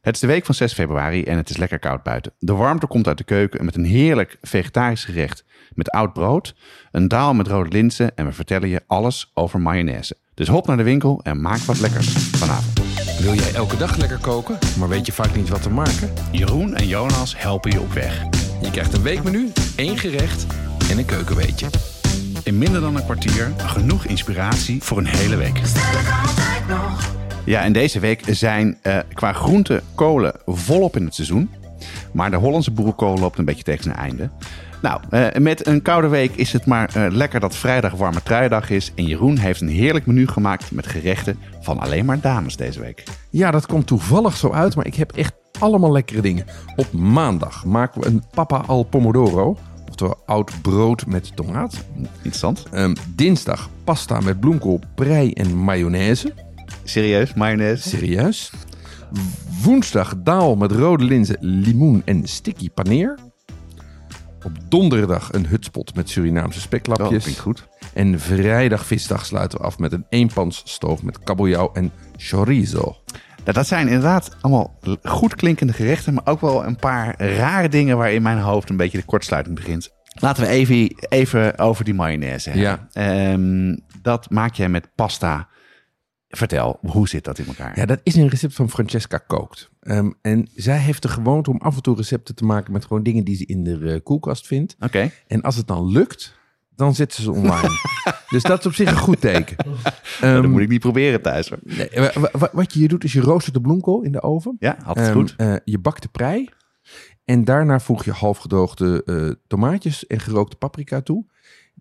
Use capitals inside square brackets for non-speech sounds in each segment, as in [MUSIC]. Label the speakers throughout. Speaker 1: Het is de week van 6 februari en het is lekker koud buiten. De warmte komt uit de keuken met een heerlijk vegetarisch gerecht met oud brood, een daal met rode linzen en we vertellen je alles over mayonaise. Dus hop naar de winkel en maak wat lekkers vanavond.
Speaker 2: Wil jij elke dag lekker koken, maar weet je vaak niet wat te maken?
Speaker 1: Jeroen en Jonas helpen je op weg.
Speaker 2: Je krijgt een weekmenu, één gerecht en een keukenweetje.
Speaker 1: In minder dan een kwartier genoeg inspiratie voor een hele week. Ja, en deze week zijn eh, qua groente kolen volop in het seizoen. Maar de Hollandse boerenkool loopt een beetje tegen zijn einde. Nou, eh, met een koude week is het maar eh, lekker dat vrijdag warme truidag is. En Jeroen heeft een heerlijk menu gemaakt met gerechten van alleen maar dames deze week.
Speaker 2: Ja, dat komt toevallig zo uit, maar ik heb echt allemaal lekkere dingen. Op maandag maken we een papa al pomodoro, oftewel oud brood met tomaat.
Speaker 1: Interessant.
Speaker 2: Ehm, dinsdag pasta met bloemkool, prei en mayonaise.
Speaker 1: Serieus, mayonaise?
Speaker 2: Serieus? Woensdag daal met rode linzen, limoen en sticky paneer. Op donderdag een hutspot met Surinaamse
Speaker 1: Oh, dat
Speaker 2: speklapjes.
Speaker 1: klinkt goed.
Speaker 2: En vrijdag visdag sluiten we af met een eenpansstoof met kabeljauw en chorizo.
Speaker 1: Nou, dat zijn inderdaad allemaal l- goed klinkende gerechten, maar ook wel een paar rare dingen waarin mijn hoofd een beetje de kortsluiting begint. Laten we even, even over die mayonaise hebben.
Speaker 2: Ja.
Speaker 1: Ehm, dat maak jij met pasta. Vertel, hoe zit dat in elkaar?
Speaker 2: Ja, dat is een recept van Francesca Kookt. Ehm, en zij heeft de gewoonte om af en toe recepten te maken met gewoon dingen die ze in de eh, koelkast vindt.
Speaker 1: Oké.
Speaker 2: En als het dan lukt, dan zet ze ze
Speaker 1: [LAUGHS]
Speaker 2: online. dus dat is op zich een goed teken.
Speaker 1: Dat
Speaker 2: Ehm,
Speaker 1: moet ik niet proberen thuis. Hoor.
Speaker 2: nee, wa- wa- wa- wat je hier doet, is je roostert de bloemkool in de oven.
Speaker 1: Ja, altijd
Speaker 2: Ehm,
Speaker 1: goed.
Speaker 2: eh, je bakt de prei. En daarna voeg je halfgedroogde eh tomaatjes en gerookte paprika toe.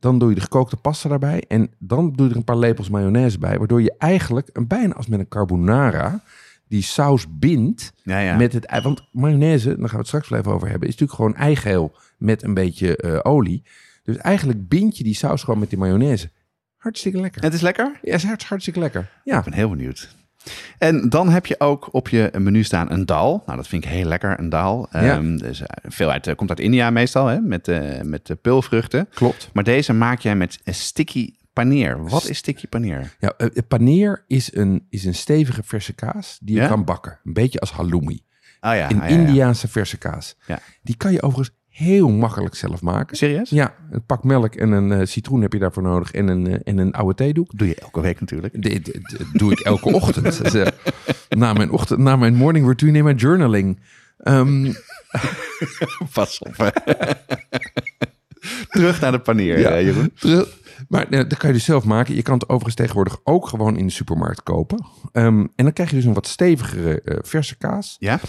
Speaker 2: Dan doe je de gekookte pasta daarbij. En dan doe je er een paar lepels mayonaise bij. Waardoor je eigenlijk een, bijna als met een carbonara die saus bindt
Speaker 1: Ja, ja.
Speaker 2: met het ei. Want mayonaise, daar gaan we het straks wel even over hebben, is natuurlijk gewoon eigeel met een beetje eh, olie. Dus eigenlijk bind je die saus gewoon met die mayonaise. Hartstikke lekker.
Speaker 1: Het is lekker?
Speaker 2: Ja, is hart- hartstikke lekker. Ja.
Speaker 1: Ik ben heel benieuwd. En dan heb je ook op je menu staan een dal. Nou, dat vind ik heel lekker, een dal.
Speaker 2: Ja.
Speaker 1: Ehm, dus eh, veel uit, eh, komt uit India meestal, hè? met, eh met eh, peulvruchten.
Speaker 2: Klopt.
Speaker 1: Maar deze maak jij met eh, sticky paneer. Wat is sticky paneer?
Speaker 2: Ja, eh, eh, paneer is een, is een stevige verse kaas die je
Speaker 1: Ja?
Speaker 2: kan bakken. Een beetje als halloumi.
Speaker 1: Oh ja,
Speaker 2: Een
Speaker 1: ah, ja, ja.
Speaker 2: Indiaanse verse kaas.
Speaker 1: Ja.
Speaker 2: Die kan je overigens heel makkelijk zelf maken.
Speaker 1: Serieus?
Speaker 2: Ja, een pak melk en een eh, citroen heb je daarvoor nodig en een, eh, en een oude theedoek.
Speaker 1: Doe je elke week natuurlijk.
Speaker 2: Dit, dit- dit doe ik elke ochtend. Dus, eh, na, mijn ochtend na mijn morning routine in mijn journaling. Ehm,
Speaker 1: [LAUGHS] Pas op. hè. Terug naar de paneer,
Speaker 2: Ja.
Speaker 1: eh, Jeroen.
Speaker 2: terug- maar eh, dat kan je dus zelf maken. Je kan het overigens tegenwoordig ook gewoon in de supermarkt kopen. Ehm, en dan krijg je dus een wat stevigere eh, verse kaas.
Speaker 1: Ja?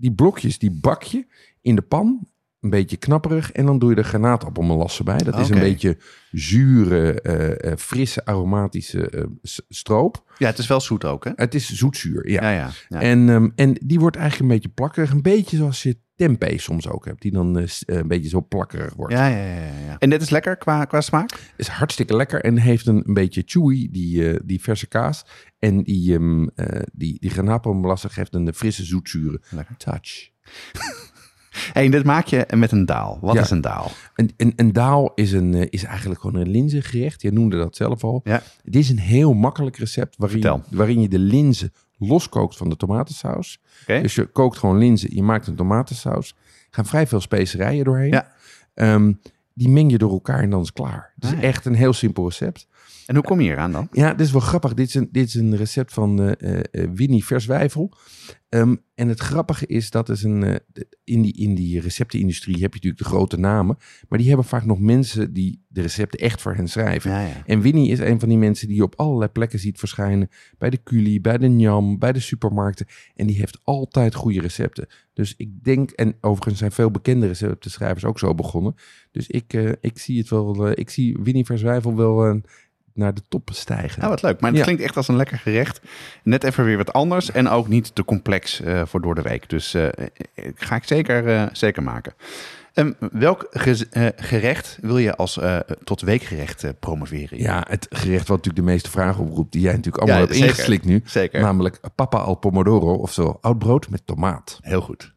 Speaker 2: die blokjes, die bak je in de pan. Een beetje knapperig. En dan doe je er granaatappelmelassen bij. Dat is een
Speaker 1: Oké.
Speaker 2: beetje zure, eh, eh, frisse, aromatische eh, s- stroop.
Speaker 1: ja, het is wel zoet ook, hè?
Speaker 2: Het is zoetzuur, ja.
Speaker 1: Ja, ja. ja.
Speaker 2: En, ehm, en die wordt eigenlijk een beetje plakkerig. Een beetje zoals je tempeh soms ook hebt. Die dan eh, s- eh, een beetje zo plakkerig wordt.
Speaker 1: Ja, ja, ja, ja, ja. En dit is lekker qua, qua smaak?
Speaker 2: Is hartstikke lekker en heeft een, een beetje chewy, die, eh, die verse kaas. En die, ehm eh, die, die granaatappelmelassen geeft een frisse, zoetzure
Speaker 1: Lekker.
Speaker 2: touch.
Speaker 1: En dit maak je met een daal. Wat
Speaker 2: Ja.
Speaker 1: is een daal?
Speaker 2: Een, een, een daal is, een, eh, is eigenlijk gewoon een linzengerecht. Je noemde dat zelf al.
Speaker 1: Ja.
Speaker 2: Het is een heel makkelijk recept waarin,
Speaker 1: Vertel.
Speaker 2: waarin je de linzen loskookt van de tomatensaus.
Speaker 1: Oké.
Speaker 2: Dus je kookt gewoon linzen, je maakt een tomatensaus. Er gaan vrij veel specerijen doorheen.
Speaker 1: Ja.
Speaker 2: Ehm, die meng je door elkaar en dan is het klaar. Het is
Speaker 1: Ah, ja.
Speaker 2: echt een heel simpel recept.
Speaker 1: En hoe kom je hier aan dan?
Speaker 2: Ja, dit is wel grappig. Dit is een, dit is een recept van eh, eh, eh, Winnie Verswijvel. Ehm, en het grappige is dat is een, eh, de- in, die, in die receptenindustrie heb je natuurlijk de grote namen. Maar die hebben vaak nog mensen die de recepten echt voor hen schrijven.
Speaker 1: Ja, ja.
Speaker 2: En Winnie is een van die mensen die je op allerlei plekken ziet verschijnen. Bij de Culi, bij de Njam, bij de supermarkten. En die heeft altijd goede recepten. Dus ik denk, en overigens zijn veel bekende receptenschrijvers ook zo begonnen. Dus ik, eh, ik zie het wel, eh, ik zie Winnie Verzwijvel wel eh, naar de top stijgen.
Speaker 1: Nou, wat leuk. Maar het
Speaker 2: Ja.
Speaker 1: klinkt echt als een lekker gerecht. Net even weer wat anders. En ook niet te complex eh, voor door de week. Dus eh, eh, ga ik zeker, eh, zeker maken. Ehm, welk gez- eh, gerecht wil je als eh, tot weekgerecht eh, promoveren?
Speaker 2: Ja, het gerecht wat natuurlijk de meeste vragen oproept, die jij natuurlijk allemaal
Speaker 1: Ja,
Speaker 2: hebt
Speaker 1: zeker.
Speaker 2: ingeslikt nu. Nou.
Speaker 1: Zeker.
Speaker 2: Namelijk papa al pomodoro, oftewel oud brood met tomaat.
Speaker 1: Heel goed.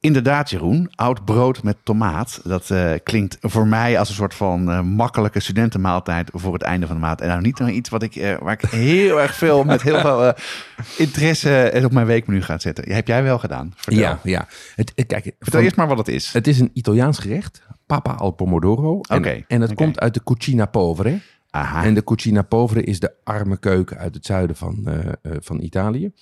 Speaker 1: Inderdaad, Jeroen. Oud brood met tomaat. Dat eh, klinkt voor mij als een soort van eh, makkelijke studentenmaaltijd voor het einde van de maand. En nou niet naar iets wat ik, eh, waar ik heel erg veel met heel veel eh, interesse eh, op mijn weekmenu ga zetten. Heb jij wel gedaan? Vertel.
Speaker 2: Ja, ja. Het, het- kijk,
Speaker 1: Vertel
Speaker 2: van-
Speaker 1: eerst maar wat het is.
Speaker 2: het is een Italiaans gerecht. Papa al pomodoro. En,
Speaker 1: Oké,
Speaker 2: en het
Speaker 1: oké.
Speaker 2: komt uit de cucina povere.
Speaker 1: Aha.
Speaker 2: En de cucina povere is de arme keuken uit het zuiden van, eh, eh, van Italië.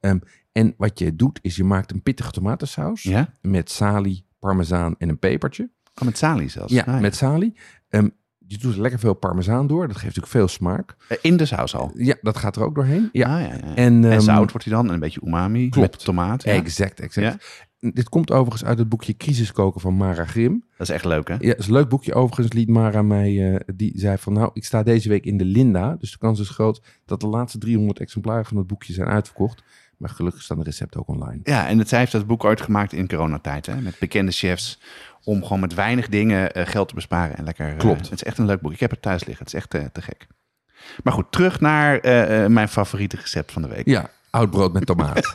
Speaker 2: Ehm, en wat je doet, is je maakt een pittige tomatensaus
Speaker 1: ja?
Speaker 2: met salie, parmezaan en een pepertje.
Speaker 1: Oh, met salie zelfs.
Speaker 2: Ja,
Speaker 1: Ah, ja.
Speaker 2: met salie. Ehm, je doet er lekker veel parmezaan door. Dat geeft natuurlijk veel smaak.
Speaker 1: Eh, In de saus al.
Speaker 2: Ja, dat gaat er ook doorheen. Ja.
Speaker 1: Ah, ja, ja. En,
Speaker 2: En, ehm,
Speaker 1: zout wordt hij dan. En een beetje umami.
Speaker 2: klopt.
Speaker 1: Met tomaat. Ja.
Speaker 2: Exact, exact. Dit komt overigens uit het boekje Crisiskoken van Mara Grim.
Speaker 1: Dat is echt leuk, hè?
Speaker 2: Ja, is een leuk boekje. Overigens liet Mara mij, eh, die zei van nou, ik sta deze week in de Linda. Dus de kans is groot dat de laatste 300 exemplaren van het boekje zijn uitverkocht. Maar gelukkig staan de recepten ook online.
Speaker 1: Ja, en het, zij heeft dat boek ooit gemaakt in coronatijd. Hè? Met bekende chefs. Om gewoon met weinig dingen eh, geld te besparen. En lekker. eh,
Speaker 2: Klopt.
Speaker 1: het is echt een leuk boek. Ik heb het thuis liggen. Het is echt eh, te gek. Maar goed, terug naar eh, eh, mijn favoriete recept van de week.
Speaker 2: Ja, oud brood met tomaat.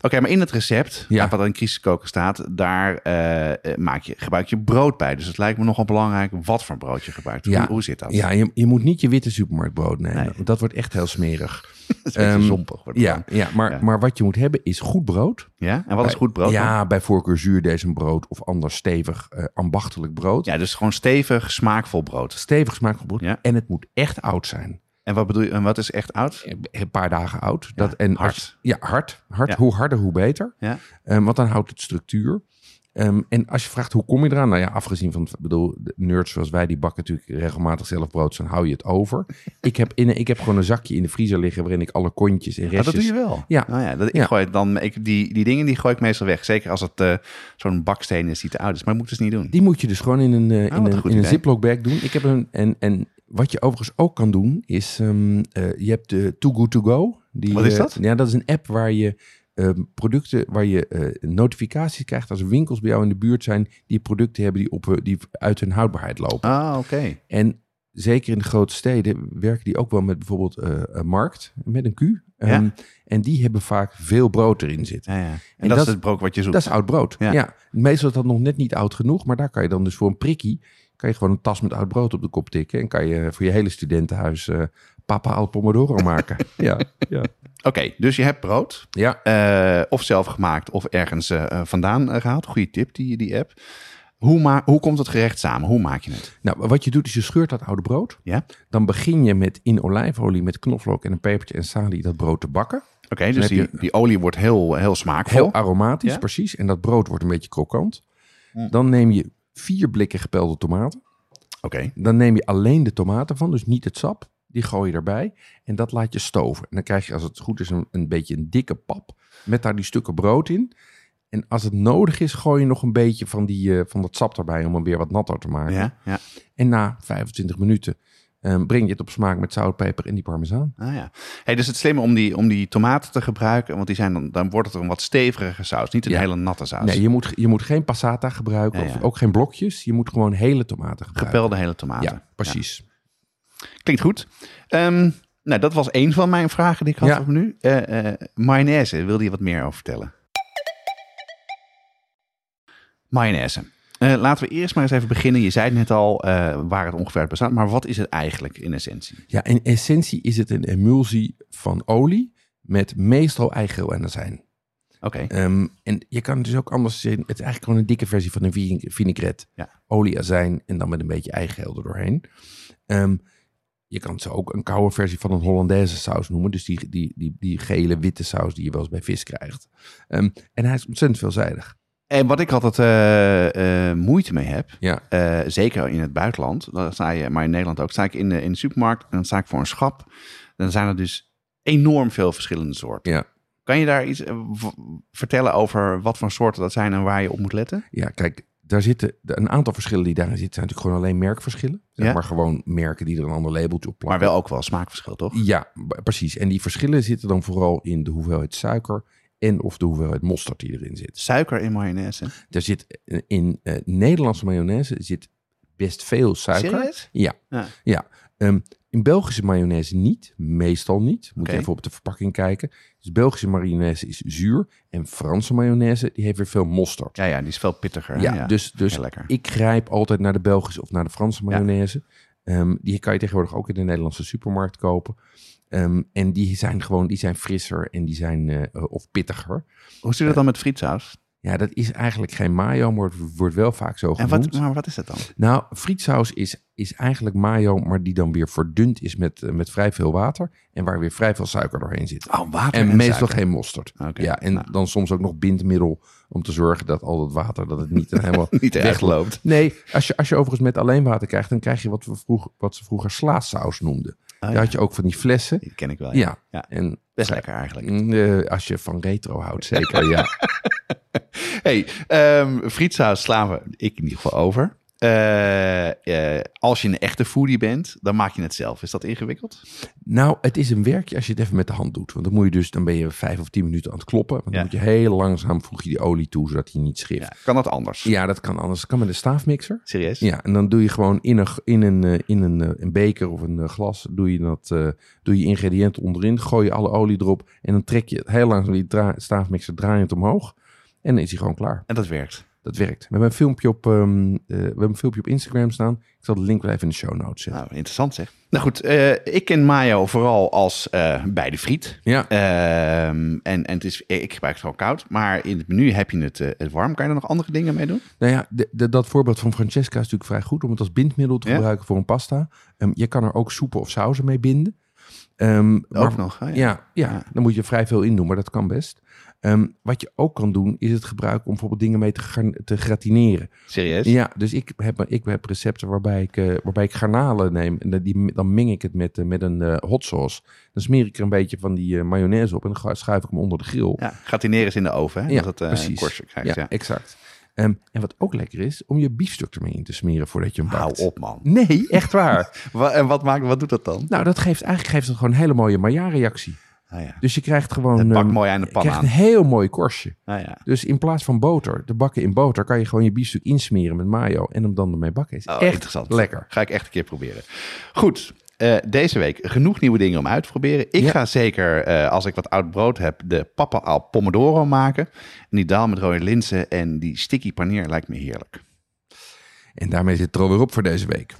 Speaker 1: Oké, maar in het recept,
Speaker 2: Ja.
Speaker 1: wat in crisiskoken staat, daar eh, eh, maak je, gebruik je brood bij. Dus het lijkt me nogal belangrijk wat voor brood je gebruikt.
Speaker 2: Ja.
Speaker 1: Hoe, hoe zit dat?
Speaker 2: [LAUGHS] ja, je, je moet niet je witte supermarktbrood nemen.
Speaker 1: Nee.
Speaker 2: want Dat wordt echt heel smerig.
Speaker 1: Het is een beetje
Speaker 2: Ehm,
Speaker 1: zompig. wordt het
Speaker 2: Ja,
Speaker 1: dan.
Speaker 2: ja, maar,
Speaker 1: Ja.
Speaker 2: maar wat je moet hebben is goed brood.
Speaker 1: ja. En wat is goed brood? dan?
Speaker 2: Eh, Ja, bij voorkeur zuurdezenbrood of ander stevig eh, ambachtelijk brood.
Speaker 1: ja, dus gewoon stevig, smaakvol brood.
Speaker 2: Stevig smaakvol brood.
Speaker 1: Ja.
Speaker 2: En het moet echt oud zijn.
Speaker 1: En wat bedoel je? En wat is echt oud?
Speaker 2: een paar dagen oud. dat, en
Speaker 1: hard.
Speaker 2: als- ja, hard. hard.
Speaker 1: Ja.
Speaker 2: Hoe harder, hoe beter.
Speaker 1: Ja.
Speaker 2: Ehm, want dan houdt het structuur. Ehm, en als je vraagt, hoe kom je eraan? Nou ja, afgezien van, ik bedoel, de nerds zoals wij, die bakken natuurlijk regelmatig zelf brood. dus Dan hou je het
Speaker 1: [LAUGHS]
Speaker 2: over. ik, heb in, ik heb gewoon een zakje in de vriezer liggen waarin ik alle kontjes en
Speaker 1: Maar
Speaker 2: restjes...
Speaker 1: Ah, dat doe je wel.
Speaker 2: Ja.
Speaker 1: Nou ja, dat, ik
Speaker 2: Ja.
Speaker 1: Gooi het dan, ik, die, die dingen die gooi ik meestal weg. Zeker als het eh, zo'n baksteen is die te oud is. Maar dat moet ik dus niet doen.
Speaker 2: Die moet je dus gewoon in een, eh,
Speaker 1: Ah, wat
Speaker 2: in
Speaker 1: een
Speaker 2: een,
Speaker 1: goed
Speaker 2: in een
Speaker 1: idee.
Speaker 2: ziploc bag doen. Ik heb een, en, en wat je overigens ook kan doen, is ehm, eh, je hebt de Too Good To Go. Die,
Speaker 1: Wat is
Speaker 2: eh,
Speaker 1: dat?
Speaker 2: ja, dat is een app waar je ehm, producten, waar je eh, notificaties krijgt als er winkels bij jou in de buurt zijn die producten hebben die, op, eh, die uit hun houdbaarheid lopen.
Speaker 1: Ah, oké.
Speaker 2: En zeker in de grote steden werken die ook wel met bijvoorbeeld eh, een markt, met een Q. Ehm, En die hebben vaak veel brood erin zitten.
Speaker 1: Ja, ja. En, dat,
Speaker 2: En dat-
Speaker 1: is het brood wat je zoekt.
Speaker 2: Dat is oud brood.
Speaker 1: Ja.
Speaker 2: Ja. Meestal is dat nog net niet oud genoeg, maar daar kan je dan dus voor een prikkie kan je gewoon een tas met oud brood op de kop tikken en kan je voor je hele studentenhuis eh, papa al pomodoro
Speaker 1: [LAUGHS]
Speaker 2: maken. ja. Ja.
Speaker 1: Oké, dus je hebt brood.
Speaker 2: ja.
Speaker 1: eh, of zelf gemaakt of ergens eh, eh, vandaan eh, gehaald. Goede tip, die, die app. Hoe, ma- hoe komt het gerecht samen? Hoe maak je het?
Speaker 2: Nou, wat je doet is je scheurt dat oude brood.
Speaker 1: Ja? Oké,
Speaker 2: Dan begin je met in olijfolie met knoflook en een pepertje en salie dat brood te bakken.
Speaker 1: dus
Speaker 2: heb
Speaker 1: die,
Speaker 2: je-
Speaker 1: die olie wordt heel, eh, heel smaakvol.
Speaker 2: Heel aromatisch,
Speaker 1: Ja.
Speaker 2: precies. En dat brood wordt een beetje krokant. Dan neem je vier blikken gepelde tomaten.
Speaker 1: Oké,
Speaker 2: Dan neem je alleen de tomaten van, dus niet het sap. Die gooi je erbij en dat laat je stoven. En dan krijg je, als het goed is, een, een beetje een dikke pap met daar die stukken brood in. En als het nodig is, gooi je nog een beetje van, die, eh, van dat sap erbij om hem weer wat natter te maken.
Speaker 1: ja, ja.
Speaker 2: En na 25 minuten eh, breng je het op smaak met zout, peper en die parmezaan.
Speaker 1: Ah ja. Hey, dus het is slimmer om die, om die tomaten te gebruiken, want die zijn dan, dan wordt het een wat stevige saus. Niet een
Speaker 2: Ja.
Speaker 1: hele natte saus.
Speaker 2: Nee, je moet, je moet geen passata gebruiken
Speaker 1: Ja, ja.
Speaker 2: of ook geen blokjes. Je moet gewoon hele tomaten gebruiken.
Speaker 1: Gepelde hele tomaten.
Speaker 2: Ja, precies.
Speaker 1: Klinkt goed. Ehm, nou, dat was één van mijn vragen die ik had
Speaker 2: Ja.
Speaker 1: op nu. Eh eh mayonaise, wilde je wat meer over vertellen? Mayonaise. Eh, laten we eerst maar eens even beginnen. Je zei het net al, eh, waar het ongeveer uit bestaat. Maar wat is het eigenlijk in essentie?
Speaker 2: Ja, in essentie is het een emulsie van olie met meestal eigeel azijn.
Speaker 1: Oké,
Speaker 2: Ehm, en je kan het dus ook anders zien. Het is eigenlijk gewoon een dikke versie van een vine- vinaigrette.
Speaker 1: Ja.
Speaker 2: Olie, azijn en dan met een beetje eigeel er doorheen. Ehm, je kan ze ook een koude versie van een Hollandaise saus noemen. Dus die, die, die, die gele witte saus die je wel eens bij vis krijgt. Ehm, en hij is ontzettend veelzijdig.
Speaker 1: En wat ik altijd eh, eh, moeite mee heb,
Speaker 2: Ja.
Speaker 1: eh, zeker in het buitenland, dan sta je, maar in Nederland ook, sta ik in de, in de supermarkt en dan sta ik voor een schap. Dan zijn er dus enorm veel verschillende soorten.
Speaker 2: Ja.
Speaker 1: Kan Kan je daar iets eh, v- vertellen over wat voor soorten dat zijn en waar je op moet letten?
Speaker 2: Ja, kijk, daar zitten de- een aantal verschillen die daarin zitten. zijn natuurlijk gewoon alleen merkverschillen. Zeg
Speaker 1: Ja.
Speaker 2: maar gewoon merken die er een ander labeltje op
Speaker 1: Maar
Speaker 2: plakken.
Speaker 1: wel ook wel smaakverschil, toch?
Speaker 2: Ja, b- precies. En die verschillen zitten dan vooral in de hoeveelheid suiker en of de hoeveelheid mosterd die erin zit.
Speaker 1: Suiker in mayonaise.
Speaker 2: Er zit eh, in eh, Nederlandse mayonaise zit best veel suiker.
Speaker 1: Serieus?
Speaker 2: Ja.
Speaker 1: Ja.
Speaker 2: ja. Ehm, in Belgische mayonaise niet, meestal niet. Moet
Speaker 1: Oké.
Speaker 2: je even op de verpakking kijken. Dus Belgische mayonaise is zuur en Franse mayonaise die heeft weer veel mosterd.
Speaker 1: Ja, ja, die is veel pittiger. hè?
Speaker 2: Ja, dus, dus
Speaker 1: Heel lekker.
Speaker 2: ik grijp altijd naar de Belgische of naar de Franse
Speaker 1: Ja.
Speaker 2: mayonaise. Ehm, die kan je tegenwoordig ook in de Nederlandse supermarkt kopen. Ehm, en die zijn gewoon, die zijn frisser en die zijn eh, eh, of pittiger.
Speaker 1: Hoe zit het dan met frietsaus?
Speaker 2: Ja, dat is eigenlijk geen mayo, maar het wordt wel vaak zo
Speaker 1: En
Speaker 2: genoemd.
Speaker 1: wat, maar wat is dat dan?
Speaker 2: Nou, frietsaus is, is eigenlijk mayo, maar die dan weer verdund is met, eh, met vrij veel water. En waar weer vrij veel suiker doorheen zit.
Speaker 1: Oh, water
Speaker 2: En, meestal geen mosterd.
Speaker 1: Oké,
Speaker 2: Ja, en
Speaker 1: nou.
Speaker 2: dan soms ook nog bindmiddel om te zorgen dat al dat water, dat het [LAUGHS]
Speaker 1: [LAUGHS]
Speaker 2: niet helemaal
Speaker 1: Niet echt
Speaker 2: weg
Speaker 1: loopt.
Speaker 2: Nee, als je, als je overigens met alleen water krijgt, dan krijg je wat, we vroeg, wat ze vroeger slaasaus noemden. Daar had je ook van die flessen.
Speaker 1: Die ken ik wel.
Speaker 2: Ja,
Speaker 1: Ah, Ja.
Speaker 2: en
Speaker 1: Best lekker eigenlijk.
Speaker 2: mm, eh, als je van retro
Speaker 1: [LAUGHS]
Speaker 2: houdt, zeker. ja.
Speaker 1: Hey, ehm frietsaus slaan we ik in ieder geval over. Eh, eh, als je een echte foodie bent, dan maak je het zelf. Is dat ingewikkeld?
Speaker 2: Nou, het is een werkje als je het even met de hand doet. Want dan moet je dus, dan ben je vijf of tien minuten aan het kloppen. Want dan
Speaker 1: Ja.
Speaker 2: moet je heel langzaam voeg je die olie toe, zodat hij niet schrift.
Speaker 1: Ja.
Speaker 2: Ja.
Speaker 1: Kan dat anders?
Speaker 2: dat kan anders. Dat kan met een staafmixer.
Speaker 1: Serieus?
Speaker 2: Ja, en dan doe je gewoon in een, g- in een, eh, in een, eh, een beker of een eh, glas, doe je, dat, eh, doe je ingrediënten onderin, gooi je alle olie erop en dan trek je het heel langzaam die dra- staafmixer draaiend omhoog. En dan is hij gewoon klaar.
Speaker 1: En dat werkt.
Speaker 2: Dat werkt. We hebben een filmpje op, ehm, eh, we hebben een filmpje op Instagram staan. Ik zal de link wel even in de show notes zetten.
Speaker 1: Nou, interessant zeg. Nou goed, eh, ik ken mayo vooral als eh, bij de friet.
Speaker 2: Ja,
Speaker 1: Ehm, en en het is, ik gebruik het gewoon koud. Maar in het menu heb je het, eh, het warm. Kan je er nog andere dingen mee doen?
Speaker 2: nou ja, de- de- dat voorbeeld van Francesca is natuurlijk vrij goed om het als bindmiddel te
Speaker 1: Ja?
Speaker 2: gebruiken voor een pasta. Ehm, je kan er ook soepen of sauzen mee binden. Ehm, maar-
Speaker 1: Ook nog. Oh, ja.
Speaker 2: Ja, ja,
Speaker 1: Ja.
Speaker 2: dan moet je vrij veel in doen, maar dat kan best. Ehm, wat je ook kan doen, is het gebruiken om bijvoorbeeld dingen mee te, gar- te gratineren.
Speaker 1: Serieus?
Speaker 2: Ja, dus ik heb, ik heb recepten waarbij ik, eh, waarbij ik garnalen neem. En dat- die, dan meng ik het met, eh, met een eh, hot sauce. Dan smeer ik er een beetje van die eh, mayonaise op en dan ga- schuif ik hem onder de grill.
Speaker 1: Ja, gratineren is in de oven. Hè?
Speaker 2: Ja,
Speaker 1: dat het eh, een korstje krijgt. Ja,
Speaker 2: exact. Ehm, en wat ook lekker is, om je biefstuk ermee in te smeren voordat je hem
Speaker 1: Hou
Speaker 2: bakt.
Speaker 1: op, man.
Speaker 2: Nee, echt waar. [LAUGHS]
Speaker 1: Wa- en wat, maakt, wat doet dat dan?
Speaker 2: nou, dat geeft, eigenlijk geeft het gewoon een hele mooie Maillard-reactie.
Speaker 1: Ah, ja.
Speaker 2: Dus je krijgt gewoon...
Speaker 1: Het bakt
Speaker 2: ehm,
Speaker 1: mooi aan de
Speaker 2: je
Speaker 1: pan
Speaker 2: krijgt
Speaker 1: aan.
Speaker 2: een heel mooi korstje.
Speaker 1: Ah, ja.
Speaker 2: Dus in plaats van boter, de bakken in boter, kan je gewoon je biefstuk insmeren met mayo en hem dan ermee bakken. Is
Speaker 1: Oh,
Speaker 2: echt
Speaker 1: interessant.
Speaker 2: lekker.
Speaker 1: Ga ik echt een keer proberen. Goed. eh, deze week genoeg nieuwe dingen om uit te proberen. Ik
Speaker 2: Ja.
Speaker 1: ga zeker, eh, als ik wat oud brood heb, de papa al pomodoro maken. En die daal met rode linzen en die sticky paneer lijkt me heerlijk.
Speaker 2: En daarmee zit het er alweer op voor deze week.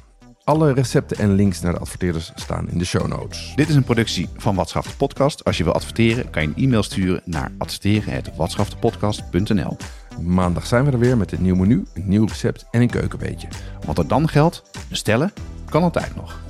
Speaker 2: Alle recepten en links naar de adverteerders staan in de show notes.
Speaker 1: Dit is een productie van Watschaft de Podcast. Als je wil adverteren, kan je een e-mail sturen naar adverteren.watschaftepodcast.nl.
Speaker 2: Maandag zijn we er weer met een nieuw menu, een nieuw recept en een keukenbeetje.
Speaker 1: Wat er dan geldt, bestellen kan altijd nog.